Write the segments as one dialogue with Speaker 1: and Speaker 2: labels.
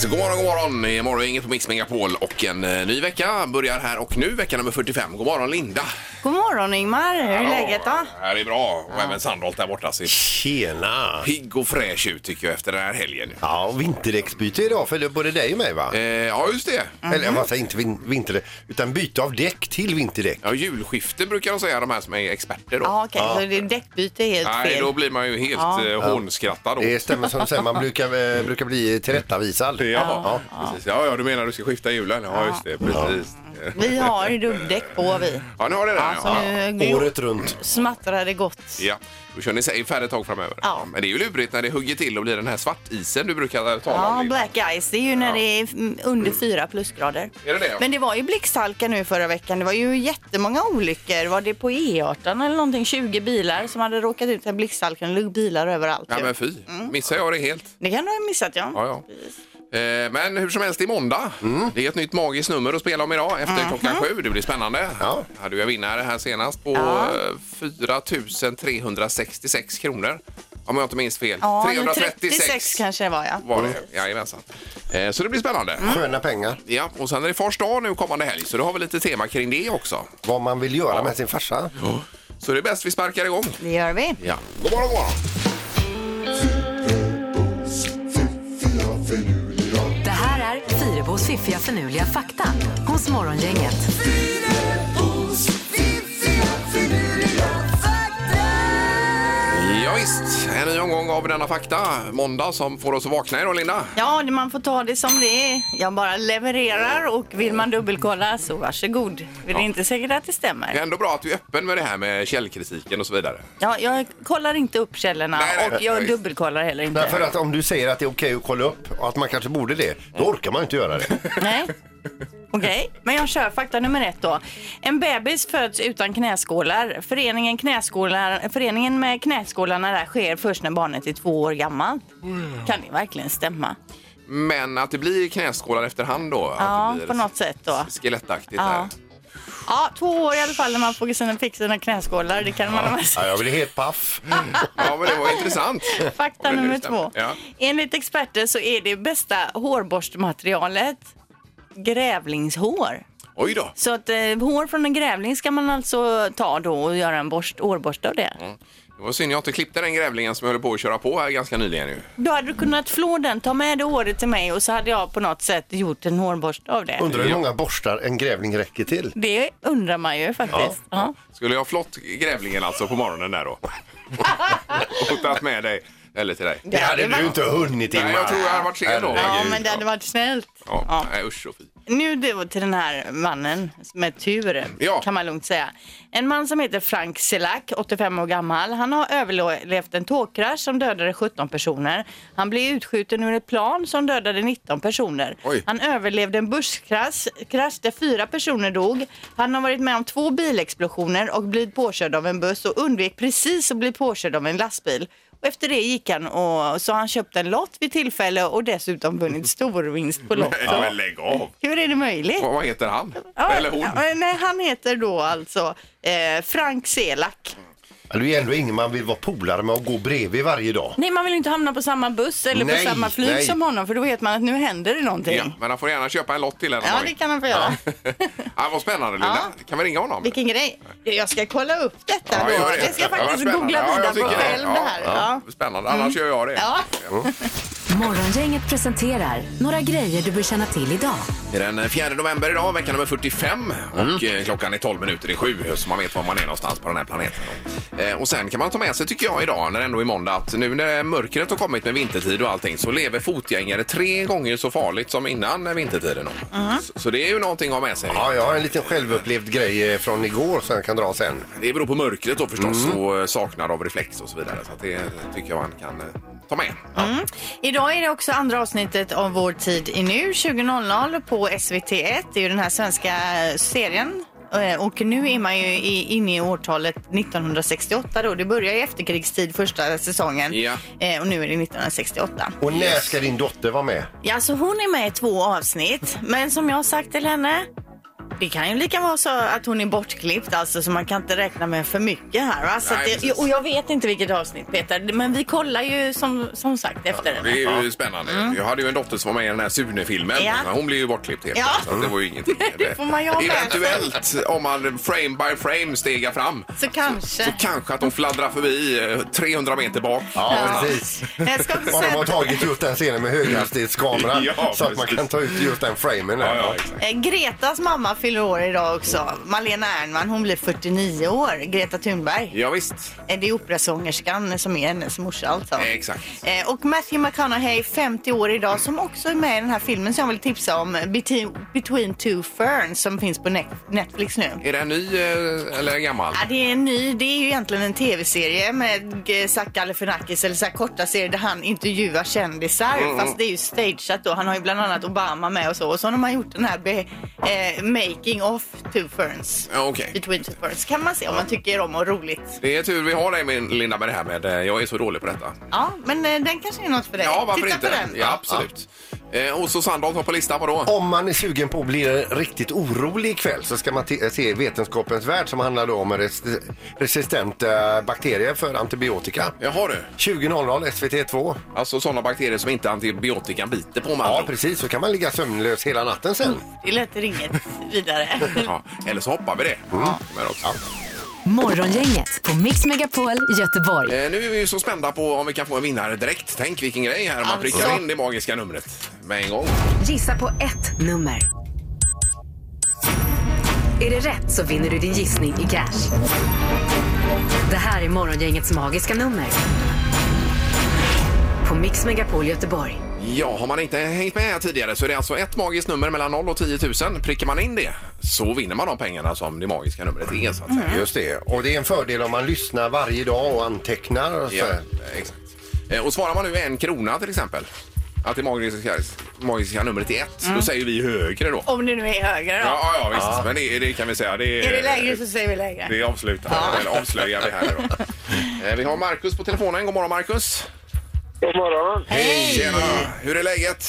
Speaker 1: God morgon, god morgon. I morgon inget på Mix Megapol och en eh, ny vecka börjar här och nu, vecka nummer 45. God morgon Linda!
Speaker 2: God morgon Ingmar, hur är läget då?
Speaker 1: Här är bra och även Sandholt där borta ser
Speaker 3: Tjena!
Speaker 1: pigg och fräsch ut tycker jag efter den här helgen.
Speaker 3: Ja, och vinterdäcksbyte idag för det är både dig och mig va?
Speaker 1: Eh, ja, just det.
Speaker 3: Eller jag säger inte vin- vinterdäck, utan byte av däck till vinterdäck.
Speaker 1: Ja, julskifte brukar de säga, de här som är experter då.
Speaker 2: Ja, okej, så det är däckbyte helt
Speaker 1: Nej,
Speaker 2: fel.
Speaker 1: då blir man ju helt
Speaker 2: Ja.
Speaker 1: ja. hånskrattad då.
Speaker 3: Det stämmer som du säger, man brukar, eh, brukar bli tillrättavisad.
Speaker 1: Ja, ja. Precis. ja, ja, du menar du ska skifta hjulen? Ja, just det, precis.
Speaker 2: Vi har ju dubbdäck på vi.
Speaker 1: Ja, nu har det den.
Speaker 2: Alltså
Speaker 1: Ja.
Speaker 2: nu
Speaker 3: Året runt.
Speaker 2: smattrar det gott.
Speaker 1: Ja, då kör ni safe här ett tag framöver.
Speaker 2: Ja.
Speaker 1: Men det är ju lurigt när det hugger till och blir den här svartisen du brukar tala om.
Speaker 2: Ja,
Speaker 1: Linda.
Speaker 2: black ice, det är ju när det är mm, under fyra plusgrader.
Speaker 1: Är det det?
Speaker 2: Men det var ju blixthalka nu förra veckan. Det var ju jättemånga olyckor. Var det på E18 eller någonting? 20 bilar som hade råkat ut för blixthalkan. Det låg bilar överallt.
Speaker 1: Ja,
Speaker 2: ju.
Speaker 1: men fy.
Speaker 2: Mm.
Speaker 1: Missar jag det helt?
Speaker 2: Det kan du ha missat, ja.
Speaker 1: Ja, ja. Eh, Men hur som helst, i måndag. Det är ett nytt magiskt nummer att spela om idag efter
Speaker 2: Mhm.
Speaker 1: klockan sju. Det blir spännande.
Speaker 3: Ja.
Speaker 1: Hade ju en vinnare här senast på
Speaker 2: Ja.
Speaker 1: eh, 4 366 kronor. Om jag inte minns fel.
Speaker 2: Ja, men
Speaker 1: 336
Speaker 2: 36 kanske det var, ja.
Speaker 1: var det. Jajamensan. Eh, Så det blir spännande.
Speaker 2: Mm.
Speaker 3: Sköna pengar.
Speaker 1: Ja, och sen är det fars dag nu kommande helg så då har vi lite tema kring det också.
Speaker 3: Vad man vill göra med sin farsa.
Speaker 1: Så det är bäst vi sparkar igång.
Speaker 2: Det gör vi.
Speaker 1: Ja. God morgon, god morgon.
Speaker 4: Det här är Fyrabos fiffiga förnuliga fakta hos Morgongänget.
Speaker 1: Ja, visst, en ny omgång av denna fakta. Måndag som får oss att vakna idag, Linda.
Speaker 2: Ja, det- man får ta det som det är. Jag bara levererar och vill man dubbelkolla så varsågod. Det är inte säkert att det
Speaker 1: Det är
Speaker 2: stämmer.
Speaker 1: ändå bra att du är öppen med det här med källkritiken och så vidare.
Speaker 2: Ja, jag kollar inte upp källorna
Speaker 1: Nej, nej,
Speaker 2: och
Speaker 1: nej,
Speaker 2: jag
Speaker 1: nej.
Speaker 2: dubbelkollar heller inte.
Speaker 3: Därför att om du säger att det är okej att kolla upp och att man kanske borde det, då orkar man ju inte göra det.
Speaker 2: Nej. Okej, men jag kör fakta nummer ett då. En bebis föds utan knäskålar. Föreningen, knäskålar, föreningen med knäskålarna där sker först när barnet är två år gammalt. Kan det verkligen stämma?
Speaker 1: Men att det blir knäskålar efterhand då? att
Speaker 2: Ja,
Speaker 1: det blir
Speaker 2: på något sätt då.
Speaker 1: Skelettaktigt
Speaker 2: Ja.
Speaker 1: här.
Speaker 2: Ja, två år i alla fall när man får sina, fick sina knäskålar. Det kan man
Speaker 3: Ja, jag blir helt paff.
Speaker 1: Ja, men det var intressant.
Speaker 2: Fakta
Speaker 1: Om det nu
Speaker 2: nummer
Speaker 1: stämmer.
Speaker 2: två.
Speaker 1: Ja.
Speaker 2: Enligt experter så är det bästa hårborstmaterialet grävlingshår.
Speaker 1: Oj då.
Speaker 2: Så att eh, hår från en grävling ska man alltså ta då och göra en borst, hårborste av det.
Speaker 1: Det var synd jag inte klippte den grävlingen som jag höll på att köra på här ganska nyligen ju.
Speaker 2: Då hade du kunnat flå den, ta med det håret till mig och så hade jag på något sätt gjort en hårborste av det.
Speaker 3: Undrar hur många borstar en grävling räcker till.
Speaker 2: Det undrar man ju faktiskt. Ja.
Speaker 1: Skulle jag ha flott grävlingen alltså på morgonen där då? och tagit med dig, eller till dig?
Speaker 3: Det hade du inte hunnit
Speaker 1: Nej, jag tror jag hade varit sen då.
Speaker 3: Ja,
Speaker 2: Ja,
Speaker 3: Herregud.
Speaker 2: men det hade varit snällt.
Speaker 1: Ja,
Speaker 2: Ja.
Speaker 1: Nej, usch och fy.
Speaker 2: Nu då till den här mannen med tur,
Speaker 1: Ja.
Speaker 2: kan man lugnt säga. En man som heter Frank Selak, 85 år gammal. Han har överlevt en tågkrasch som dödade 17 personer. Han blev utskjuten ur ett plan som dödade 19 personer.
Speaker 1: Oj.
Speaker 2: Han överlevde en busskrasch krasch där fyra personer dog. Han har varit med om två bilexplosioner och blivit påkörd av en buss och undvek precis att bli påkörd av en lastbil. Och efter det gick han och så har han köpt en lott vid tillfälle och dessutom vunnit storvinst på Lotto.
Speaker 1: Ja, men lägg av.
Speaker 2: Hur är det möjligt?
Speaker 1: Vad vad heter han?
Speaker 2: Ja,
Speaker 1: Eller hon?
Speaker 2: ja, nej, han heter då alltså eh, Frank Selak.
Speaker 3: Ja, Det är ändå ingen man vill vara polare med och gå bredvid varje dag.
Speaker 2: Nej, man vill inte hamna på samma buss eller
Speaker 3: Nej,
Speaker 2: på samma flyg
Speaker 3: nej.
Speaker 2: som honom för då vet man att nu händer det någonting.
Speaker 1: Ja,
Speaker 2: Ja,
Speaker 1: men han får gärna köpa en lott till henne.
Speaker 2: det kan han få göra.
Speaker 1: ja, vad spännande Linda. Kan vi ringa honom?
Speaker 2: Vilken grej. Jag ska kolla upp detta
Speaker 1: Ja,
Speaker 2: då.
Speaker 1: gör det.
Speaker 2: Jag ska
Speaker 1: Ja, vad
Speaker 2: faktiskt
Speaker 1: spännande.
Speaker 2: googla
Speaker 1: Ja, jag
Speaker 2: vidare på
Speaker 1: tycker det.
Speaker 2: själv
Speaker 1: Ja,
Speaker 2: det här. Ja.
Speaker 1: Spännande, annars gör jag det.
Speaker 2: Ja.
Speaker 4: Morgongänget presenterar några grejer du bör känna till idag.
Speaker 1: Det är den 4 november idag, vecka nummer 45. Och eh, klockan är 12 minuter i sju, så man vet var man är någonstans på den här planeten. Eh, Och sen kan man ta med sig, tycker jag, idag, när det ändå är måndag, att nu när mörkret har kommit med vintertid och allting så lever fotgängare tre gånger så farligt som innan eh, vintertiden.
Speaker 2: Mm.
Speaker 1: Så, så det är ju någonting att ha med sig.
Speaker 3: Ja, jag har en liten självupplevd grej eh, från igår som jag kan dra sen.
Speaker 1: Det beror på mörkret då förstås
Speaker 2: Mm.
Speaker 1: och eh, saknad av reflex och så vidare. Så att det tycker jag man kan eh, ta med. Ja.
Speaker 2: Idag är det också andra avsnittet av Vår tid i nu, 20.00 på SVT1. Det är ju den här svenska eh, serien. Eh, Och nu är man ju i- inne i årtalet 1968 då. Det börjar i efterkrigstid första säsongen.
Speaker 1: Ja.
Speaker 2: Eh, Och nu är det 1968.
Speaker 3: Och när ska din dotter vara med?
Speaker 2: Ja, så hon är med i två avsnitt. Men som jag har sagt till henne, Det kan ju lika vara så att hon är bortklippt, alltså, så man kan inte räkna med för mycket här. Va? Så
Speaker 1: Nej,
Speaker 2: att det,
Speaker 1: precis.
Speaker 2: och jag vet inte vilket avsnitt, Peter, men vi kollar ju som, som sagt efter
Speaker 1: Det
Speaker 2: den.
Speaker 1: är ju spännande. Jag hade ju en dotter som var med i den här Sune-filmen.
Speaker 2: Mm. Ja.
Speaker 1: Hon blev ju bortklippt helt
Speaker 2: Ja. Mm.
Speaker 1: enkelt, så att det var ju ingenting.
Speaker 2: Det får man ju ha med sig.
Speaker 1: Eventuellt om man frame by frame stegar fram
Speaker 2: Så kanske.
Speaker 1: så kanske att de fladdrar förbi eh, 300 meter bak.
Speaker 3: Ja, precis.
Speaker 2: Jag ska också
Speaker 3: Och de
Speaker 2: säga
Speaker 3: har
Speaker 2: att,
Speaker 3: tagit just den scenen med höghastighetskamera
Speaker 1: Ja,
Speaker 3: så att man
Speaker 1: precis.
Speaker 3: kan ta ut just den framen. där.
Speaker 1: exakt.
Speaker 2: eh, Gretas mamma fyller år idag också. Malena Ernman, hon blir 49 år. Greta Thunberg.
Speaker 1: Ja, visst.
Speaker 2: Eh, Det är operasångerskan som är hennes morsa alltså.
Speaker 1: Exakt.
Speaker 2: Eh, Och Matthew McConaughey, 50 år idag, som också är med i den här filmen som jag vill tipsa om, Between, Between Two Ferns, som finns på Net- Netflix nu.
Speaker 1: Är det en ny eh, eller en gammal?
Speaker 2: Ja, det är en ny, det är ju egentligen en tv-serie med G- Zac Galifianakis eller så här korta serier där han intervjuar kändisar.
Speaker 1: Mm.
Speaker 2: Fast det är ju stageat då. Han har ju bland annat Obama med och så. Och så har man gjort den här be, eh, Making of Two Ferns.
Speaker 1: Ja, Okej.
Speaker 2: Between Two Ferns kan man se om man tycker om och roligt.
Speaker 1: Det är tur vi har dig, min- Linda, med det här med... eh, Jag är så dålig på detta.
Speaker 2: Ja, men eh, den kanske är något för dig.
Speaker 1: Ja, varför
Speaker 2: Titta
Speaker 1: inte?
Speaker 2: på den.
Speaker 1: Ja, absolut. Eh, och så Sandholt var på listan, vadå?
Speaker 3: Om man är sugen på att bli riktigt orolig ikväll så ska man te- eh, se Vetenskapens värld som handlar då om res- resistenta bakterier för antibiotika.
Speaker 1: Jaha du,
Speaker 3: 20.00 SVT2.
Speaker 1: alltså sådana bakterier som inte antibiotikan biter på man.
Speaker 3: Ja, precis. Så kan man ligga sömnlös hela natten sen.
Speaker 2: Det lät inget vidare.
Speaker 1: ja, Eller så hoppar vi det. Men också.
Speaker 4: Morgongänget på Mix Megapol Göteborg.
Speaker 1: Eh, nu är vi ju så spända på om vi kan få en vinnare direkt. Tänk vilken grej här om man
Speaker 2: Alltså.
Speaker 1: prickar in det magiska numret med en gång.
Speaker 4: Gissa på ett nummer. Är det rätt så vinner du din gissning i cash. Det här är Morgongängets magiska nummer. På Mix Megapol Göteborg.
Speaker 1: Ja, har man inte hängt med här tidigare så är det alltså ett magiskt nummer mellan 0 och 10 000. Prickar man in det så vinner man de pengarna som det magiska numret är så att säga.
Speaker 3: Just det. Och det är en fördel om man lyssnar varje dag och antecknar. Så.
Speaker 1: Ja, eh, exakt. Eh, Och svarar man nu en krona till exempel, att det magiska, magiska numret är ett, då säger vi högre då.
Speaker 2: om det nu är högre då.
Speaker 1: Ja, ja, ja visst. Men det, det kan vi säga. Det,
Speaker 2: Är det lägre så säger vi lägre.
Speaker 1: Det avslutar eller avslöjar vi här då. Eh, Vi har Markus på telefonen. God morgon Markus!
Speaker 5: God morgon.
Speaker 1: Hej! Tjena! Hur är läget?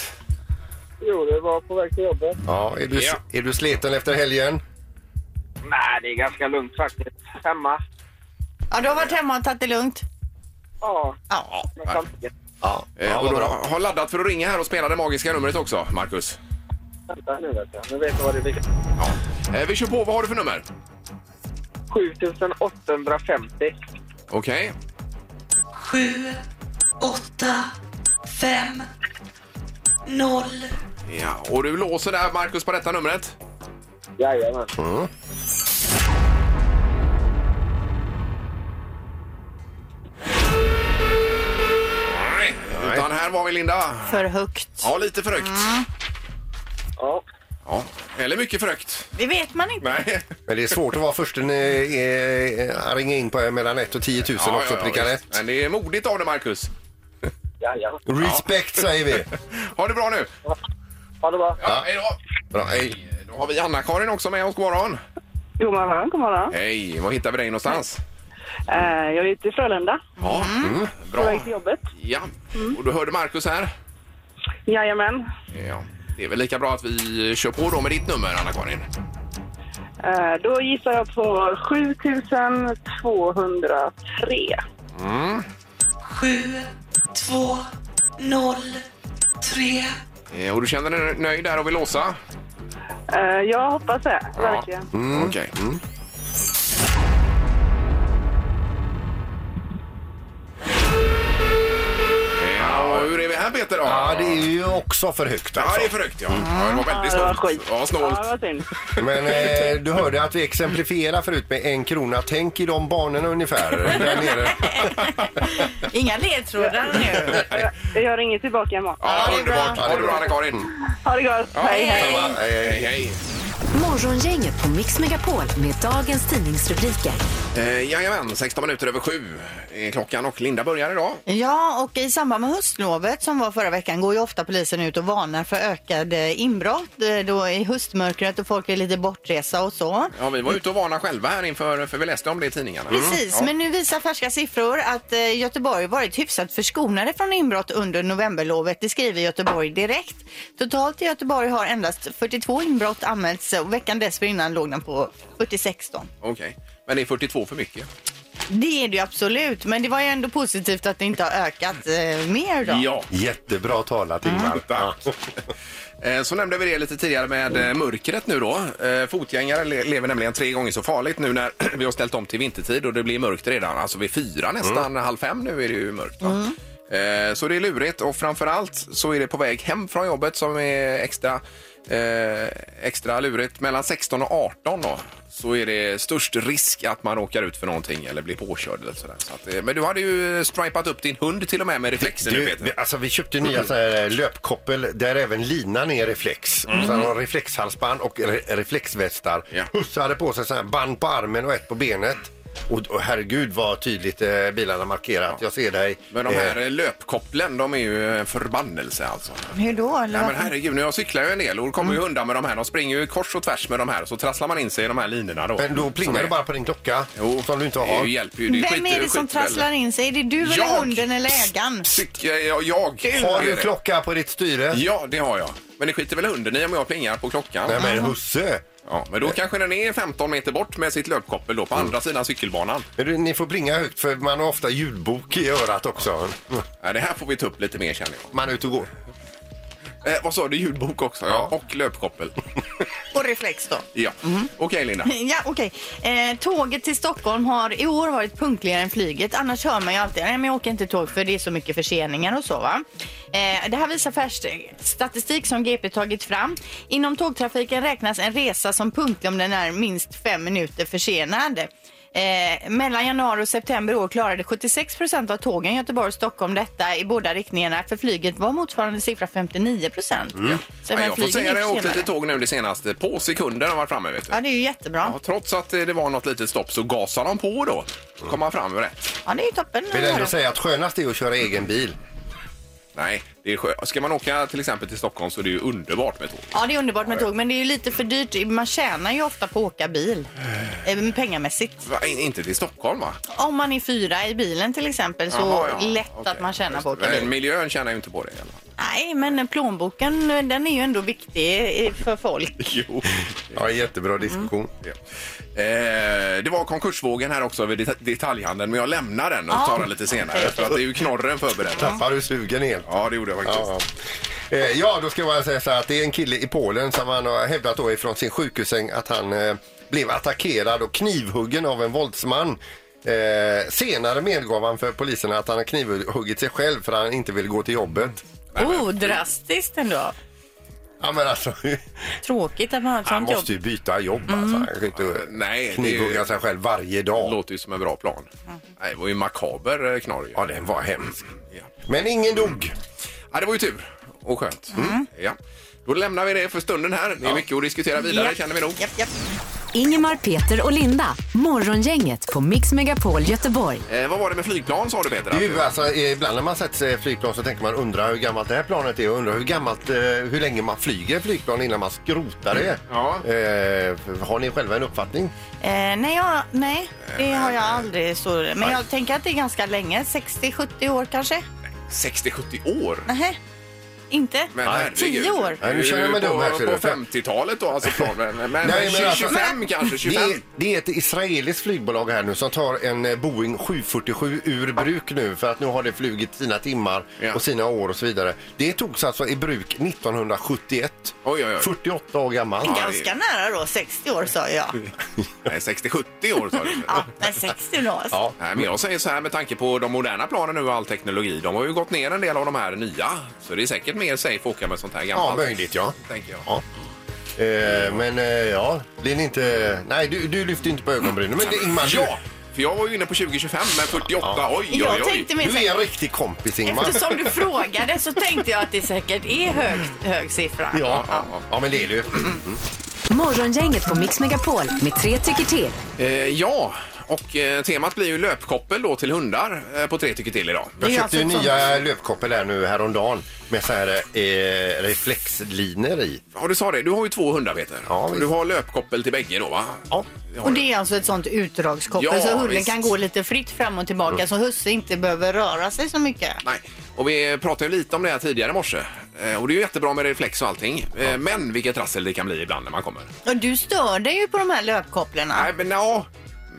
Speaker 5: Jo, det var på väg till jobbet.
Speaker 3: Ja, är, du,
Speaker 1: Ja.
Speaker 3: är du sliten efter helgen?
Speaker 5: Nej, det är ganska lugnt faktiskt. Hemma.
Speaker 2: Ja, du har varit hemma och tagit det lugnt.
Speaker 5: Ja,
Speaker 2: Ja.
Speaker 5: men samtidigt.
Speaker 3: Ja,
Speaker 1: Eh,
Speaker 3: ja
Speaker 1: och
Speaker 3: vad
Speaker 1: du
Speaker 3: bra.
Speaker 1: har laddat för att ringa här och spela det magiska numret också, Markus.
Speaker 5: Vänta nu vet jag. Nu vet jag vad det blir.
Speaker 1: Ja. Eh, Vi kör på. Vad har du för nummer?
Speaker 5: 7850.
Speaker 1: Okej.
Speaker 6: 7, 8, 5, 0.
Speaker 1: Ja, och du låser där, Markus, på detta numret?
Speaker 5: Jajamän.
Speaker 7: Mm.
Speaker 1: Nej. Utan här var vi, Linda.
Speaker 2: För högt.
Speaker 1: Ja, lite för högt.
Speaker 5: Ja.
Speaker 1: Ja. Eller mycket för högt.
Speaker 2: Det vet man inte.
Speaker 1: Nej.
Speaker 3: Men det är svårt att vara först när eh, ringa in på mellan 1 och 10 000
Speaker 1: Ja,
Speaker 3: också
Speaker 1: ja, ja,
Speaker 3: prickar
Speaker 1: visst.
Speaker 3: rätt.
Speaker 1: Men det är modigt av dig, Markus.
Speaker 5: Jajamän.
Speaker 3: Respect säger vi.
Speaker 1: Ha det bra nu!
Speaker 5: Ha det bra.
Speaker 1: Ja, hej då!
Speaker 3: Bra, hej.
Speaker 1: Då har vi Anna-Karin också med oss. God morgon!
Speaker 8: God morgon, god morgon.
Speaker 1: Hej! Var hittar vi dig någonstans?
Speaker 8: Eh, jag är ute i Frölunda,
Speaker 1: Ja, Mm.
Speaker 8: på
Speaker 1: bra. Mm.
Speaker 8: väg till jobbet.
Speaker 1: Ja. Och du hörde Markus här.
Speaker 8: Jajamän.
Speaker 1: Ja. Det är väl lika bra att vi kör på då med ditt nummer, Anna-Karin.
Speaker 8: Eh, då gissar jag på 7203.
Speaker 6: 7, 2, 0, 3.
Speaker 1: Eh, Och du känner dig nöjd där och vill låsa?
Speaker 8: Eh, jag hoppas det, verkligen.
Speaker 1: Mm. Okej. Ja, och hur är vi här, Peter? Då?
Speaker 3: Ja, det är ju också för högt
Speaker 1: Ja, det är
Speaker 3: alltså.
Speaker 1: för högt, ja. ja det var väldigt
Speaker 8: Ja, det var
Speaker 1: snålt.
Speaker 8: skit.
Speaker 1: Ja,
Speaker 8: Ja,
Speaker 1: snålt.
Speaker 8: det var synd.
Speaker 3: Men eh, du hörde att vi exemplifierar förut med en krona. Tänk i de barnen ungefär. Där nere.
Speaker 2: Inga ledtrådar nu.
Speaker 8: Jag, jag ringer tillbaka imorgon.
Speaker 1: Ja,
Speaker 2: det är bra.
Speaker 1: underbart. Ha det bra, Anna-Karin.
Speaker 8: Ha det gott. hej, hej.
Speaker 3: Eh,
Speaker 1: Hej, hej.
Speaker 4: Morgongänget på Mix Megapol med dagens tidningsrubriker.
Speaker 1: Eh, jajamän, 16 minuter över sju är klockan och Linda börjar idag.
Speaker 2: Ja, och i samband med höstlovet som var förra veckan går ju ofta polisen ut och varnar för ökade inbrott eh, då i höstmörkret och folk är lite bortresa och så.
Speaker 1: Ja, vi
Speaker 8: Mm.
Speaker 1: var ute och varnade själva här inför, för vi läste om det i tidningarna. Mm.
Speaker 2: Precis, men nu visar färska siffror att eh, Göteborg varit hyfsat förskonade från inbrott under novemberlovet. Det skriver Göteborg Direkt. Totalt i Göteborg har endast 42 inbrott anmälts eh, och veckan dessförinnan låg den på 46 då.
Speaker 1: Okej. Men är 42 för mycket?
Speaker 2: Det är det ju absolut, men det var ju ändå positivt att det inte har ökat eh, mer då.
Speaker 3: Jättebra talat Ingmar.
Speaker 1: Tack. Eh, Så nämnde vi det lite tidigare med eh, mörkret nu då. Eh, Fotgängare le- lever nämligen tre gånger så farligt nu när vi har ställt om till vintertid och det blir mörkt redan. Alltså vid fyra nästan, halv fem nu är det ju mörkt. va? Eh, Så det är lurigt och framförallt så är det på väg hem från jobbet som är extra, eh, extra lurigt. Mellan 16 och 18 då så är det störst risk att man råkar ut för någonting eller blir påkörd eller sådär. Så att, eh, men du hade ju stripat upp din hund till och med med reflexen nu
Speaker 3: Du,
Speaker 1: Peter.
Speaker 3: vi- alltså, vi köpte nya så här eh, löpkoppel där även linan är reflex. Mm. Sen har reflexhalsband och re- reflexvästar.
Speaker 1: Ja.
Speaker 3: Husse hade på sig så här band på armen och ett på benet. Och, och herregud vad tydligt eh, bilarna markerat. Jag ser dig.
Speaker 1: Men de
Speaker 3: Eh,
Speaker 1: här löpkopplen, de är ju en förbannelse alltså.
Speaker 2: Hur då? Eller?
Speaker 1: Nej men herregud, nu jag cyklar ju en del och då kommer
Speaker 3: Mm.
Speaker 1: ju hundar med de här. De springer ju kors och tvärs med de här så trasslar man in sig i de här linorna då.
Speaker 3: Men då
Speaker 1: Som
Speaker 3: plingar
Speaker 1: är-
Speaker 3: det bara på din klocka
Speaker 1: Jo,
Speaker 3: som du inte
Speaker 1: Det
Speaker 3: har.
Speaker 1: hjälper ju. Det
Speaker 2: Vem
Speaker 1: skiter-
Speaker 2: är det som
Speaker 1: skiter väl.
Speaker 2: trasslar in sig? Är det du eller
Speaker 1: Jag!
Speaker 2: hunden eller ägaren?
Speaker 1: Cyk- jag, jag.
Speaker 3: Har
Speaker 1: Det är
Speaker 3: du
Speaker 1: det.
Speaker 3: klocka på ditt styre?
Speaker 1: Ja, det har jag. Men det skiter väl hunden i om jag plingar på klockan?
Speaker 3: Nej men husse!
Speaker 1: Ja, men då kanske den är 15 meter bort med sitt löpkoppel då på
Speaker 3: Mm.
Speaker 1: andra sidan cykelbanan.
Speaker 3: Men du, Ni får plinga högt för man har ofta ljudbok i örat också.
Speaker 1: Ja, det här får vi ta upp lite mer känner
Speaker 3: Man är ute och går.
Speaker 1: jag. Eh, vad sa du? Ljudbok också? Ja. Och löpkoppel.
Speaker 2: Och reflex då?
Speaker 1: ja.
Speaker 3: Mm.
Speaker 1: Okej Linda.
Speaker 2: Ja, okej. Eh, tåget till Stockholm har i år varit punktligare än flyget. Annars hör man ju alltid nej men jag åker inte tåg för det är så mycket förseningar och så. Va? Eh, det här visar färsk statistik som GP tagit fram. Inom tågtrafiken räknas en resa som punktlig om den är minst fem minuter försenad. Eh, mellan januari och september i år klarade 76 procent av tågen Göteborg och Stockholm detta i båda riktningarna. För flyget var motsvarande siffra 59 procent.
Speaker 1: Mm. Ja, jag får säga det, jag åkte lite tåg nu det senaste. På sekunden har varit framme vet du.
Speaker 2: Ja, det är ju jättebra.
Speaker 1: Ja, trots att eh, det var något litet stopp så gasade de på då. Så kom man fram rätt.
Speaker 2: Ja, det är ju toppen.
Speaker 3: Vill
Speaker 2: att
Speaker 3: ändå
Speaker 2: höra.
Speaker 3: säga att skönast är att köra egen bil.
Speaker 1: Nej, det är skö... Ska man åka till exempel till Stockholm så är det ju underbart med tåg.
Speaker 2: Ja, det är underbart med tåg, men det är ju lite för dyrt. Man tjänar ju ofta på att åka bil, eh, pengamässigt.
Speaker 1: Va? In- Inte till Stockholm va?
Speaker 2: Om man är fyra i bilen till exempel, så
Speaker 1: Jaha, ja.
Speaker 2: lätt
Speaker 1: Okej,
Speaker 2: att man tjänar
Speaker 1: just
Speaker 2: på att
Speaker 1: det.
Speaker 2: åka
Speaker 1: Men
Speaker 2: bil.
Speaker 1: Miljön tjänar ju inte på det. i alla fall.
Speaker 2: Nej, men plånboken, eh, den är ju ändå viktig eh, för folk.
Speaker 1: Jo.
Speaker 3: Ja, jättebra diskussion.
Speaker 1: Ja. Eh, det var konkursvågen här också över det- detaljhandeln, men jag lämnar den och tar den lite senare. För att det är ju knorren förberedd.
Speaker 3: Tappar du sugen helt?
Speaker 1: Ja, det gjorde jag faktiskt.
Speaker 3: Ja, ja. Eh, ja, då ska jag bara säga så här att det är en kille i Polen som han har hävdat då ifrån sin sjukhussäng att han eh, blev attackerad och knivhuggen av en våldsman. Eh, senare medgav han för polisen att han har knivhuggit sig själv för att han inte vill gå till jobbet.
Speaker 2: Oh, drastiskt ändå.
Speaker 3: Ja, men alltså,
Speaker 2: Tråkigt att man har ett
Speaker 3: han
Speaker 2: sånt jobb.
Speaker 3: måste ju byta jobb. Alltså. Han kan ju inte
Speaker 1: Nej, det är-
Speaker 3: knivhugga sig själv varje dag.
Speaker 1: Låter ju som en bra plan. Nej, det var ju makaber eh, knorr ju.
Speaker 3: Ja, den var hemsk.
Speaker 1: Ja.
Speaker 3: Men ingen dog.
Speaker 1: Ja, det var ju tur och skönt.
Speaker 3: Mm.
Speaker 1: Mm. Ja. Då lämnar vi det för stunden här. Det är mycket att diskutera vidare
Speaker 2: Japp.
Speaker 1: känner vi nog.
Speaker 2: Japp, japp.
Speaker 4: Ingemar, Peter och Linda. Morgongänget på Mix Megapol Göteborg.
Speaker 1: Eh, vad var det med flygplan sa du Peter?
Speaker 3: Det är
Speaker 1: Att-
Speaker 3: ju, alltså, eh, ibland när man sätter sig i flygplan så tänker man undra hur gammalt det här planet är och undra hur gammalt, eh, hur länge man flyger flygplan innan man skrotar det.
Speaker 1: Mm, Ja.
Speaker 3: Eh, har ni själva en uppfattning?
Speaker 2: Eh, nej, jag, nej, det har jag aldrig. Så, men jag tänker att det är ganska länge, 60-70 år kanske?
Speaker 1: 60-70 år?
Speaker 2: Nej, inte?
Speaker 1: Men
Speaker 3: Nej.
Speaker 1: herregud.
Speaker 2: Tio år.
Speaker 1: Det är
Speaker 3: Nej, nu känner jag mig
Speaker 1: ju
Speaker 3: dum här, ser
Speaker 1: På,
Speaker 3: du.
Speaker 1: på 50-talet då alltså. Från, men, men,
Speaker 3: Nej, men alltså-
Speaker 1: 25 kanske?
Speaker 3: Det
Speaker 1: 25?
Speaker 3: är, det är ett israeliskt flygbolag här nu som tar en eh, Boeing 747 ur bruk nu för att nu har det flugit sina timmar
Speaker 1: Ja.
Speaker 3: och sina år och så vidare. Det togs alltså i bruk 1971.
Speaker 1: Oj, oj, oj.
Speaker 3: 48 år gammalt.
Speaker 1: det är-
Speaker 2: Ganska nära då, 60 år sa jag.
Speaker 1: Nej, 60-70 år sa du.
Speaker 2: Ja, men 60 då. alltså.
Speaker 3: Ja.
Speaker 1: Nej, men jag säger så här med tanke på de moderna planen nu och all teknologi. De har ju gått ner en del av de här nya. Så det är säkert mer safe att åka med sånt här
Speaker 3: Ja,
Speaker 1: gammalt.
Speaker 3: möjligt ja.
Speaker 1: Tänker jag.
Speaker 3: Ja. Eh, men eh, ja, det är inte... Nej, du, du lyfter inte på ögonbrynen. Men det, Ingmar,
Speaker 1: Ja, för jag var ju inne på 2025 men 48, oj, oj, oj.
Speaker 2: Jag tänkte
Speaker 3: du,
Speaker 2: mer
Speaker 3: du är en
Speaker 2: såhär,
Speaker 3: riktig kompis Ingmar.
Speaker 2: eftersom du frågade så tänkte jag att det säkert är hög, hög siffra.
Speaker 3: Ja, ja, ja, men det är du.
Speaker 4: Morgongänget på Mix Megapol med tre tycker till.
Speaker 1: Eh, ja, och eh, temat blir ju löpkoppel då till hundar eh, på tre tycker till idag.
Speaker 3: Jag
Speaker 2: är
Speaker 3: köpte
Speaker 2: alltså
Speaker 3: ju
Speaker 2: ett sånt-
Speaker 3: nya löpkoppel här nu häromdagen med så här eh, reflexlinor i.
Speaker 1: Ja, du sa det. Du har ju två hundar, Peter.
Speaker 3: Ja,
Speaker 1: Så
Speaker 3: visst.
Speaker 1: du har löpkoppel till bägge då, va?
Speaker 3: Ja.
Speaker 1: har
Speaker 2: Och
Speaker 1: du.
Speaker 2: det är alltså ett sånt utdragskoppel
Speaker 1: Ja,
Speaker 2: så hunden
Speaker 1: visst.
Speaker 2: kan gå lite fritt fram och tillbaka så husse inte behöver röra sig så mycket.
Speaker 1: Nej. Och vi pratade ju lite om det här tidigare i morse. Eh, Och det är ju jättebra med reflex och allting. Eh, Men vilket rassel det kan bli ibland när man kommer.
Speaker 2: Och du stör dig ju på de här löpkopplarna.
Speaker 1: Nej, men ja.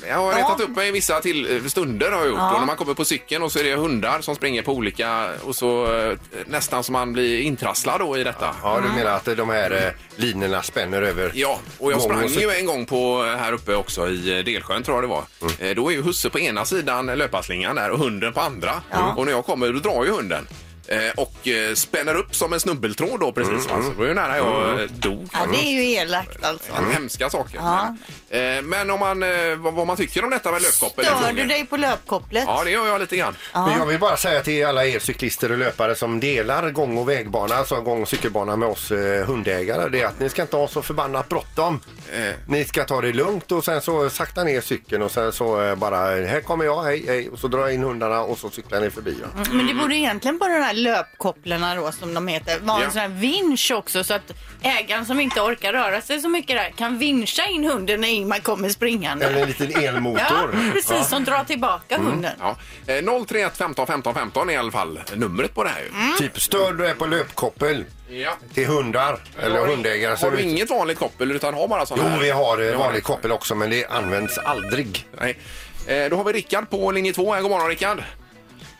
Speaker 1: Jag har retat upp mig i vissa till eh, stunder har jag gjort.
Speaker 2: Ja.
Speaker 1: Och när man kommer på cykeln och så är det hundar som springer på olika och så eh, nästan som man blir intrasslad då i detta.
Speaker 3: Ja, du menar att de här eh, linorna spänner över?
Speaker 1: Ja, och jag
Speaker 3: många
Speaker 1: sprang
Speaker 3: cyklar?
Speaker 1: ju en gång på eh, här uppe också i Delsjön tror jag det var.
Speaker 3: Mm.
Speaker 1: Eh, Då är ju husse på ena sidan löparslingan där och hunden på andra. Mm. Och när jag kommer då drar ju hunden. Eh, Och eh, spänner upp som en snubbeltråd då precis.
Speaker 3: Mm,
Speaker 1: va? Så det var ju nära jag eh, dog.
Speaker 2: Ja, det är ju elakt alltså.
Speaker 3: Mm.
Speaker 1: Ja, Hemska saker.
Speaker 2: Ja.
Speaker 1: Men, eh, men om man, eh, vad, vad man tycker om detta med löpkoppel?
Speaker 2: Stör
Speaker 1: ifrån
Speaker 2: du
Speaker 1: er?
Speaker 2: dig på löpkopplet?
Speaker 1: Ja, det gör jag lite grann.
Speaker 3: Men jag vill bara säga till alla er cyklister och löpare som delar gång och vägbana, alltså gång och cykelbana med oss eh, hundägare, det är att ni ska inte ha så förbannat bråttom.
Speaker 1: Eh.
Speaker 3: Ni ska ta det lugnt och sen så sakta ner cykeln och sen så eh, bara här kommer jag, hej, hej och så drar jag in hundarna och så cyklar ni förbi. Va?
Speaker 2: Men det borde egentligen bara de här löpkopplarna då som de heter vara
Speaker 1: Ja.
Speaker 2: en sån här vinsch också så att ägaren som inte orkar röra sig så mycket där kan vinscha in hunden när Ingmar kommer
Speaker 3: Eller
Speaker 2: springande.
Speaker 3: en liten
Speaker 2: Ja, Mm.
Speaker 3: elmotor.
Speaker 2: precis som drar tillbaka
Speaker 1: Mm.
Speaker 2: hunden.
Speaker 1: Ja. Eh, 031 15 15 15 är i alla fall numret på det här ju.
Speaker 3: Ja. Typ stör du är på löpkoppel
Speaker 1: Ja.
Speaker 3: till hundar eller hundägare. så
Speaker 1: Har
Speaker 3: är
Speaker 1: du
Speaker 3: det-
Speaker 1: inget vanligt koppel utan har bara sådana
Speaker 3: Jo,
Speaker 1: här?
Speaker 3: vi har
Speaker 1: Ni
Speaker 3: eh,
Speaker 1: det.
Speaker 3: vanlig koppel också men det används aldrig.
Speaker 1: Nej. Eh, Då har vi Rickard på linje 2. God morgon Rickard!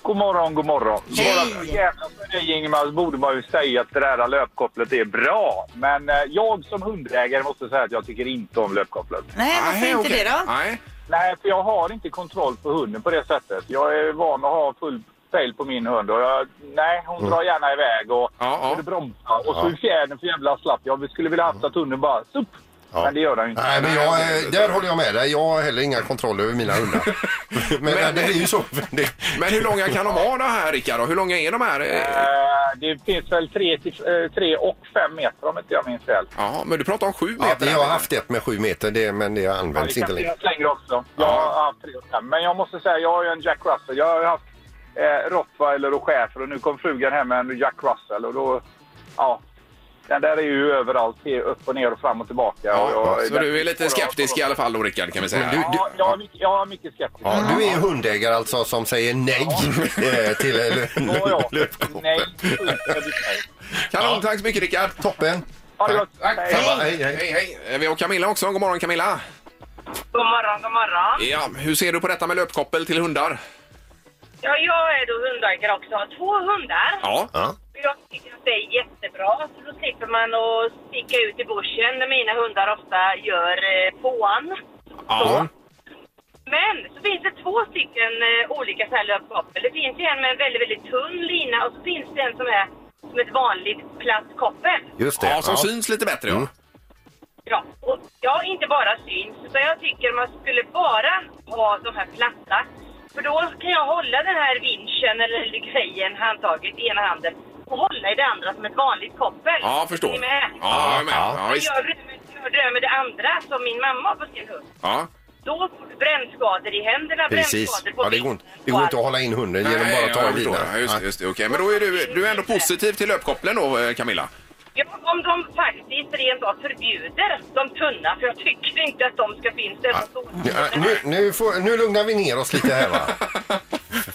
Speaker 5: God morgon, god morgon.
Speaker 2: Hej!
Speaker 5: Jävlar för dig Ingemar, så borde man ju säga att det där löpkopplet är bra. Men eh, jag som hundägare måste säga att jag tycker inte om löpkopplet.
Speaker 2: Nej, varför
Speaker 1: Nej,
Speaker 2: inte
Speaker 1: okej.
Speaker 2: det då?
Speaker 1: Nej.
Speaker 5: Nej, för jag har inte kontroll på hunden på det sättet. Jag är van att ha full pejl på min hund och jag, nej, hon drar gärna iväg och,
Speaker 1: Ja, ja.
Speaker 5: och det bromsar. Och så är fjädern för jävla slapp. Jag skulle vilja haft att hunden bara supp.
Speaker 3: Ja.
Speaker 5: Men det gör den ju inte.
Speaker 3: Nej, men jag, eh, där håller jag med dig. Jag har heller inga kontroller över mina hundar. men,
Speaker 1: Men-
Speaker 3: det är ju så. Det,
Speaker 1: Men hur långa kan de vara de här Rickard? Och hur långa är de här? Eh,
Speaker 5: Eh, Det finns väl 3 och 5 meter om inte jag minns fel.
Speaker 1: Ja, men du pratar om sju
Speaker 3: ja,
Speaker 1: meter.
Speaker 3: jag har
Speaker 1: här.
Speaker 3: haft ett med sju meter, det, men det
Speaker 5: Ja,
Speaker 3: används
Speaker 5: det
Speaker 3: inte
Speaker 5: kan
Speaker 3: längre.
Speaker 5: finnas längre också. Jag har haft 3 och 5. Men jag måste säga, jag har ju en Jack Russell. Jag har ju haft eh, rottweiler och schäfer och nu kom frugan hem med en Jack Russell och då... Ja. Den där är ju överallt, till- upp och ner och fram och tillbaka. och
Speaker 1: Ja,
Speaker 5: jag,
Speaker 1: så du är lite skeptisk i alla fall då Rickard kan vi säga.
Speaker 3: Men du-
Speaker 5: Ja, jag är mycket, jag är mycket skeptisk.
Speaker 3: Ja, du är hundägare alltså som säger nej eh, till eh,
Speaker 5: Ja, ja. Nej,
Speaker 3: löpkoppel.
Speaker 5: fullständigt nej.
Speaker 1: Kanon, tack så mycket Rickard!
Speaker 3: Toppen!
Speaker 5: Ha det gott!
Speaker 1: Tack,
Speaker 5: Hej.
Speaker 1: samma.
Speaker 3: Hej, hej.
Speaker 1: hej, hej. Eh, Vi har Camilla också. God morgon Camilla!
Speaker 8: God morgon, god morgon.
Speaker 1: Ja, hur ser du på detta med löpkoppel till hundar?
Speaker 8: Ja, jag är då hundägare också. Jag har två hundar.
Speaker 1: Ja.
Speaker 3: Ja.
Speaker 8: Jag tycker att det är jättebra, för då slipper man att sticka ut i bushen där mina hundar ofta gör eh, påan.
Speaker 1: ja.
Speaker 8: Men så finns det två stycken eh, olika så här löpkoppel. Det finns ju en med en väldigt, väldigt tunn lina och så finns det en som är som ett vanligt platt koppel.
Speaker 3: Just det. Mm.
Speaker 1: Ja, som syns lite bättre ja.
Speaker 8: Ja, och ja, inte bara syns, utan jag tycker man skulle bara ha de här platta. För då kan jag hålla den här vinschen eller grejen, handtaget, i ena handen och hålla i det andra som ett vanligt koppel.
Speaker 1: Ja, förstår.
Speaker 8: Är ni med?
Speaker 1: Ja, jag är med.
Speaker 3: Ja.
Speaker 1: Ja,
Speaker 8: Men
Speaker 1: visst.
Speaker 8: Gör du det med- gör du det med det andra som min mamma har på sin hund,
Speaker 1: Ja.
Speaker 8: då får du brännskador i händerna,
Speaker 3: Precis.
Speaker 8: brännskador på
Speaker 3: Ja, det, går, inte-
Speaker 8: benen
Speaker 3: det går
Speaker 8: och
Speaker 3: inte att
Speaker 8: allt.
Speaker 3: hålla in hunden genom
Speaker 1: Nej,
Speaker 3: bara att
Speaker 1: ja,
Speaker 3: ta
Speaker 1: jag
Speaker 3: en
Speaker 1: förstår.
Speaker 3: lina.
Speaker 1: Ja, just,
Speaker 3: Nej.
Speaker 1: det, just det. Okej, men då är du, du är ändå positiv till löpkopplen då, eh, Camilla?
Speaker 8: Ja, om de faktiskt rent av förbjuder de tunna, för jag tycker inte att de ska finnas där på stora.
Speaker 3: Ja, nu, nu, får, nu lugnar vi ner oss lite här va?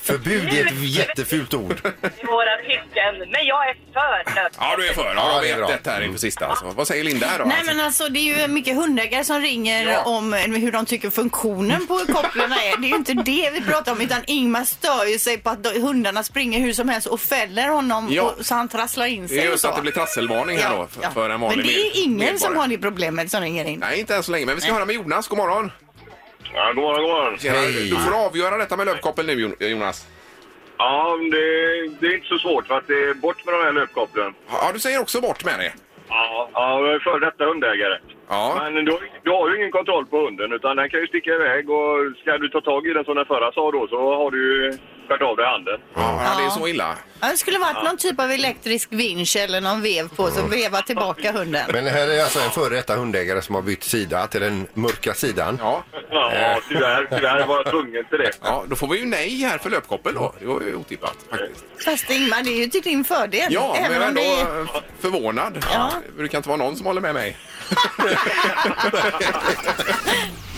Speaker 3: Förbud är ett jättefult ord.
Speaker 8: i våra tycken, men jag är för löpning.
Speaker 1: Ja, du är för.
Speaker 3: Ja,
Speaker 1: Ja,
Speaker 3: det är
Speaker 1: ja,
Speaker 3: bra. Mm.
Speaker 1: det här inför sista. Alltså. Vad säger Linda här då?
Speaker 2: Nej men alltså det är ju mycket hundägare som ringer om eh, hur de tycker funktionen på kopplarna är. Det är ju inte det vi pratar om utan Ingmar stör ju sig på att de- hundarna springer hur som helst och fäller honom
Speaker 1: Ja.
Speaker 2: och, så han trasslar in sig
Speaker 1: det är
Speaker 2: och
Speaker 1: just
Speaker 2: så.
Speaker 1: att det blir trasselvarning här då för, för en vanlig
Speaker 2: Men det är ju
Speaker 1: med-
Speaker 2: ingen som
Speaker 1: medborgare.
Speaker 2: har det problemet som ringer in.
Speaker 1: Nej, inte än så länge. Men vi ska höra med Jonas. God morgon!
Speaker 7: Ja, god morgon, god morgon.
Speaker 1: Tjena.
Speaker 3: Hej.
Speaker 1: Du får avgöra detta med löpkoppel nu, Jon- Jonas.
Speaker 7: Ja, men det, det är inte så svårt för att det är bort med de här löpkopplen.
Speaker 1: Ja, du säger också bort med det.
Speaker 7: Ja, ja jag är före detta hundägare.
Speaker 1: Ja.
Speaker 7: Men då, du har ju ingen kontroll på hunden utan den kan ju sticka iväg och ska du ta tag i den som den förra sa då så har du ju skärt av dig handen.
Speaker 1: Ja, det är så illa.
Speaker 2: Ja, det skulle varit någon typ av elektrisk vinsch eller någon vev på så veva tillbaka hunden.
Speaker 3: Men det här är alltså en före detta hundägare som har bytt sida till den mörka sidan.
Speaker 1: Ja.
Speaker 7: Ja, tyvärr, tyvärr var jag tvungen till det.
Speaker 1: ja, då får vi ju nej här för löpkoppel då. Det var ju otippat faktiskt.
Speaker 2: Fast Ingmar, det är ju till din fördel.
Speaker 1: Ja, men
Speaker 2: även
Speaker 1: jag är
Speaker 2: om
Speaker 1: ändå
Speaker 2: det är...
Speaker 1: eh, förvånad.
Speaker 2: Ja.
Speaker 1: Det brukar inte vara någon som håller med mig.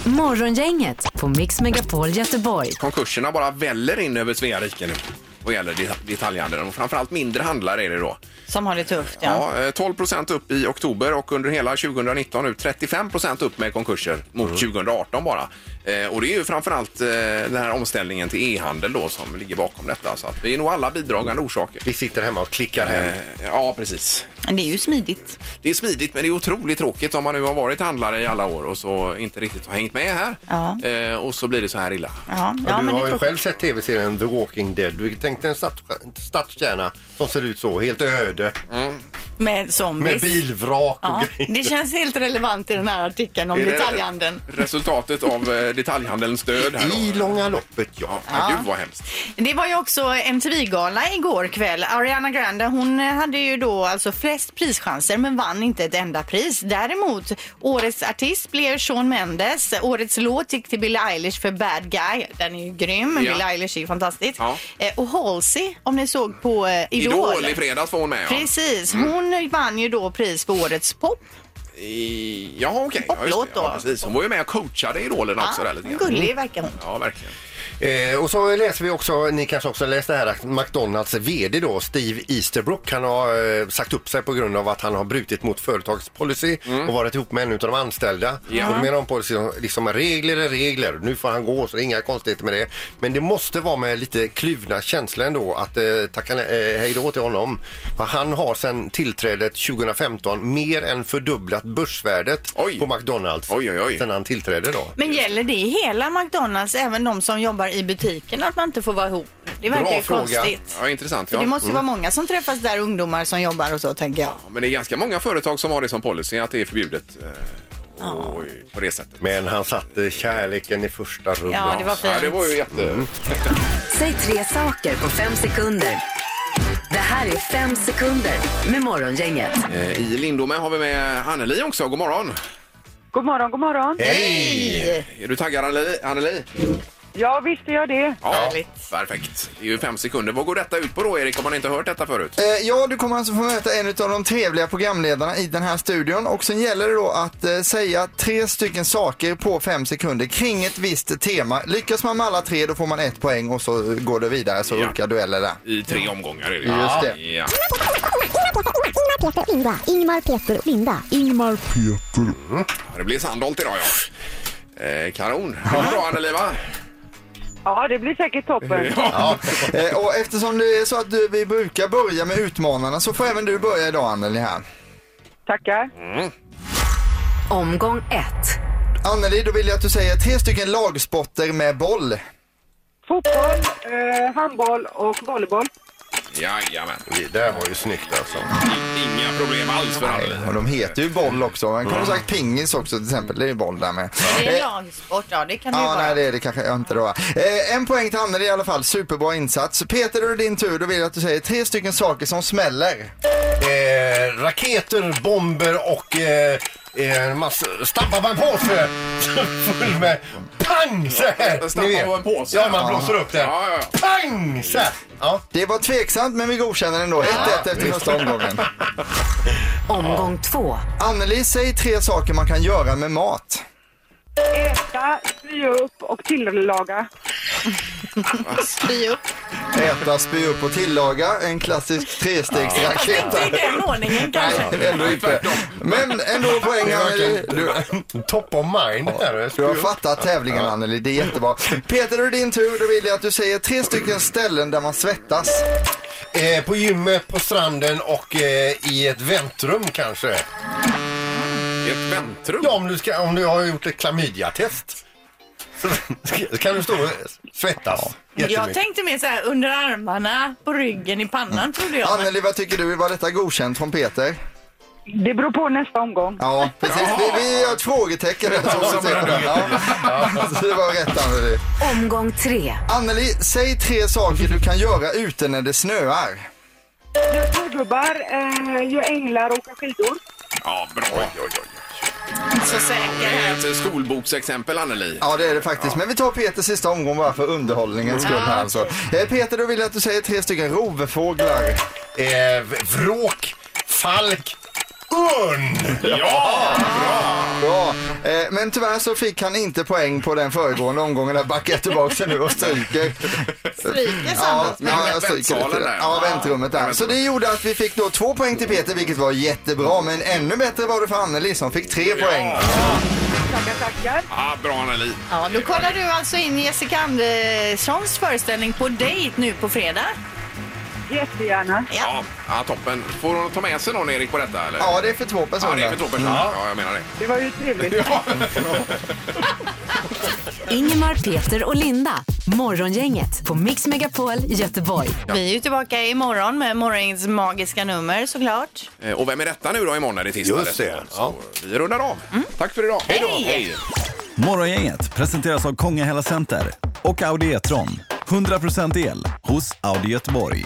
Speaker 4: Morgongänget på Mix Megapol Göteborg.
Speaker 1: Konkurserna bara väller in över Sverige nu. vad gäller det- detaljhandeln. Och framförallt mindre handlare är det då.
Speaker 2: Som har det tufft, ja.
Speaker 1: Ja, eh, 12 procent upp i oktober och under hela 2019 nu 35 procent upp med konkurser mot 2018 bara. Eh, Och det är ju framförallt eh, den här omställningen till e-handel då som ligger bakom detta. Så att vi är nog alla bidragande orsaker.
Speaker 3: Vi sitter hemma och klickar hem.
Speaker 1: Eh, Ja, precis.
Speaker 2: Men det är ju smidigt.
Speaker 1: Det är smidigt men det är otroligt tråkigt om man nu har varit handlare i alla år och så inte riktigt har hängt med här.
Speaker 2: Ja.
Speaker 1: Eh, Och så blir det så här illa.
Speaker 2: Ja,
Speaker 3: Ja,
Speaker 2: ja
Speaker 3: du
Speaker 2: men det
Speaker 3: har
Speaker 2: är
Speaker 3: ju
Speaker 2: tråkigt.
Speaker 3: själv sett tv-serien The Walking Dead. Du tänkte en stads- en stadskärna som ser ut så, helt öde.
Speaker 2: Med
Speaker 3: Med
Speaker 2: zombies.
Speaker 3: bilvrak och
Speaker 2: Ja,
Speaker 3: grejer.
Speaker 2: det känns helt relevant i den här artikeln om
Speaker 1: Är det
Speaker 2: detaljhandeln.
Speaker 1: Resultatet av eh, detaljhandelns död här då.
Speaker 3: I långa loppet, ja.
Speaker 1: Ja, men gud vad hemskt.
Speaker 2: Det var ju också MTV-gala igår kväll. Ariana Grande hon hade ju då alltså flest prischanser men vann inte ett enda pris. Däremot, årets artist blev Shawn Mendes. Årets låt gick till Billie Eilish för Bad Guy. Den är ju grym.
Speaker 1: Ja.
Speaker 2: Billie Eilish är ju fantastisk.
Speaker 1: Ja.
Speaker 2: Eh, Och Halsey, om ni såg på eh, Idol.
Speaker 1: Idol i fredags Mm. var hon med. ja.
Speaker 2: Precis, hon vann ju då pris för årets pop.
Speaker 1: I... Ja, okej. Ja, just
Speaker 2: Poplåt
Speaker 1: det.
Speaker 2: då.
Speaker 1: Ja, precis. Hon var ju med och coachade idolen också. Där, lite grann.
Speaker 2: Ah, gullig verkar hon.
Speaker 1: Ja, verkligen.
Speaker 3: Eh, och så läser vi också, ni kanske också läste här, att McDonalds VD då, Steve Easterbrook, han har eh, sagt upp sig på grund av att han har brutit mot företagspolicy och varit ihop med en av de anställda.
Speaker 1: Mm. Ja.
Speaker 3: Och då menar de på liksom, liksom regler är regler, nu får han gå så det är inga konstigheter med det. Men det måste vara med lite kluvna känslor ändå att eh, tacka ne- eh, hej då till honom. För han har sedan tillträdet 2015 mer än fördubblat börsvärdet
Speaker 1: Oj.
Speaker 3: på McDonalds
Speaker 1: Oj, oj, oj.
Speaker 3: sedan han tillträdde då.
Speaker 2: Men gäller det i hela McDonalds, även de som jobbar i butiken, att man inte får vara ihop? Det
Speaker 3: Bra
Speaker 2: verkar ju
Speaker 3: fråga.
Speaker 2: konstigt.
Speaker 1: Ja, intressant.
Speaker 2: För
Speaker 1: Ja.
Speaker 2: Det måste ju vara många som träffas där, ungdomar som jobbar och så, tänker jag.
Speaker 1: Ja, Men det är ganska många företag som har det som policy att det är förbjudet. eh, och- På det sättet.
Speaker 3: Men han satte kärleken i första rummet.
Speaker 2: Ja, det var fint.
Speaker 1: Ja, det var ju jätte...
Speaker 4: Säg tre saker på fem sekunder. Det här är fem sekunder med Morgongänget.
Speaker 1: Eh, I Lindome har vi med Anneli också. God morgon!
Speaker 9: God morgon, god morgon.
Speaker 1: Hej! Är du taggad Anneli? Anneli?
Speaker 9: Ja, visst är jag det.
Speaker 1: Ja,
Speaker 2: Härligt.
Speaker 1: Perfekt. Det är ju fem sekunder. Vad går detta ut på då Erik? Har man inte hört detta förut?
Speaker 10: Eh, ja, du kommer alltså få möta en av de trevliga programledarna i den här studion och sen gäller det då att eh, säga tre stycken saker på fem sekunder kring ett visst tema. Lyckas man med alla tre då får man ett poäng och så går det vidare så
Speaker 1: Ja.
Speaker 10: olika dueller där.
Speaker 1: I tre omgångar är det ju.
Speaker 10: Just det.
Speaker 1: Ja.
Speaker 11: Ingmar, Peter och Linda. Ingmar, Peter.
Speaker 1: Ja, Det blir Sandholt idag ja. Eh, kanon. Det går bra Anneli va?
Speaker 9: Ja, det blir säkert
Speaker 10: Mm.
Speaker 9: toppen.
Speaker 1: Ja.
Speaker 10: Eh, och eftersom det är så att du, vi brukar börja med utmanarna så får även du börja idag Anneli här.
Speaker 9: Tackar.
Speaker 4: Omgång ett.
Speaker 10: Anneli, då vill jag att du säger tre stycken lagsporter med boll.
Speaker 9: Fotboll, eh, handboll och volleyboll.
Speaker 1: Jajamän.
Speaker 3: Det där var ju snyggt alltså.
Speaker 1: Inga problem alls för Anneli.
Speaker 10: Och de heter ju boll också. Man kunde ha sagt pingis också till exempel. Det är ju boll där med.
Speaker 2: Det är
Speaker 10: Eh,
Speaker 2: en lagsport, ja det kan det ju
Speaker 10: Ja,
Speaker 2: vara.
Speaker 10: nej det är det kanske jag inte då. Eh, en poäng till Anneli i alla fall. Superbra insats. Peter, då är det din tur. Då vill jag att du säger tre stycken saker som smäller.
Speaker 3: Eh, raketer, bomber och eh, en massa... Stampar man på för full med pang så här.
Speaker 1: Stampar
Speaker 3: ni vet.
Speaker 1: på en påse?
Speaker 3: Ja, man blåser upp den.
Speaker 1: Ja, ja, ja.
Speaker 3: Pang så här. Ja.
Speaker 10: Det var tveksamt, men vi godkänner den då. 1-1 efter första omgången.
Speaker 4: Omgång två.
Speaker 10: Anneli, säg tre saker man kan göra med mat.
Speaker 9: Äta, sy upp och tillaga.
Speaker 2: Spy upp.
Speaker 10: Äta, spy upp och tillaga. En klassisk trestegsraket.
Speaker 2: Inte i den ordningen kanske.
Speaker 10: Nej, ändå inte. Men ändå poäng Anneli. Du,
Speaker 3: Top of mind eh. här.
Speaker 10: du har fattat tävlingen Anneli, det är jättebra. Peter, då är det din tur. Då vill jag att du säger tre stycken ställen där man svettas.
Speaker 3: Eh, på gymmet, på stranden och eh, i ett väntrum kanske.
Speaker 1: I ett väntrum?
Speaker 3: Ja, om du, ska, om du har gjort ett klamydiatest. Så kan du stå och svettas
Speaker 2: Jag
Speaker 3: jättemycket.
Speaker 2: tänkte mer så här under armarna, på ryggen, i pannan trodde jag.
Speaker 10: Anneli, vad tycker du? Var detta godkänt från Peter?
Speaker 9: Det beror på nästa omgång.
Speaker 10: Ja, precis. Vi, vi gör ett frågetecken där. Som som ja. Så det var rätt, Anneli.
Speaker 4: Omgång tre.
Speaker 10: Anneli, säg tre saker du kan göra ute när det snöar.
Speaker 9: Gör turgubbar, eh, gör änglar och åka skidor.
Speaker 1: Ja, bra. Oj, oj, oj.
Speaker 2: Så säker
Speaker 1: Det
Speaker 2: här.
Speaker 1: är ett eh, skolboksexempel, Anneli.
Speaker 10: Ja, det är det faktiskt. Men vi tar Peters sista omgång bara för underhållningens skull. Här, alltså. Eh, Peter, då vill jag att du säger tre stycken rovfåglar.
Speaker 3: Eh, v- vråk, falk
Speaker 12: Örn!
Speaker 1: Ja!
Speaker 10: Bra. Eh, Men tyvärr så fick han inte poäng på den föregående omgången. Där backar jag tillbaka sen nu och stryker.
Speaker 2: Stryker
Speaker 10: Ja,
Speaker 2: samma.
Speaker 10: ja, jag stryker det till det. Ja, väntrummet där. Så det gjorde att vi fick då två poäng till Peter, vilket var jättebra. Men ännu bättre var det för Anneli som fick tre poäng.
Speaker 8: Tackar, tackar.
Speaker 1: Ja, bra Anneli.
Speaker 2: Ja, då kollar du alltså in Jessica Anderssons föreställning på dejt nu på fredag.
Speaker 8: Jättegärna.
Speaker 1: Ja. ja, toppen. Får hon ta med sig någon Erik på detta eller?
Speaker 10: Ja, det är för två personer.
Speaker 1: Ja, det är för två personer.
Speaker 10: Mm.
Speaker 1: Ja, jag menar det.
Speaker 8: Det var ju trevligt.
Speaker 13: Ingemar, Peter och Linda. Morgongänget på Mix Megapol Göteborg.
Speaker 2: Vi är ju tillbaka imorgon med morgonens magiska nummer såklart.
Speaker 1: Eh, Och vem är detta nu då imorgon när det är tisdag?
Speaker 12: Just det,
Speaker 1: dessutom? Så Vi rundar av. Tack för idag. Hej då! Hej.
Speaker 14: Morgongänget presenteras av Kongahälla Center och Audi E-tron. 100% el hos Audi Göteborg.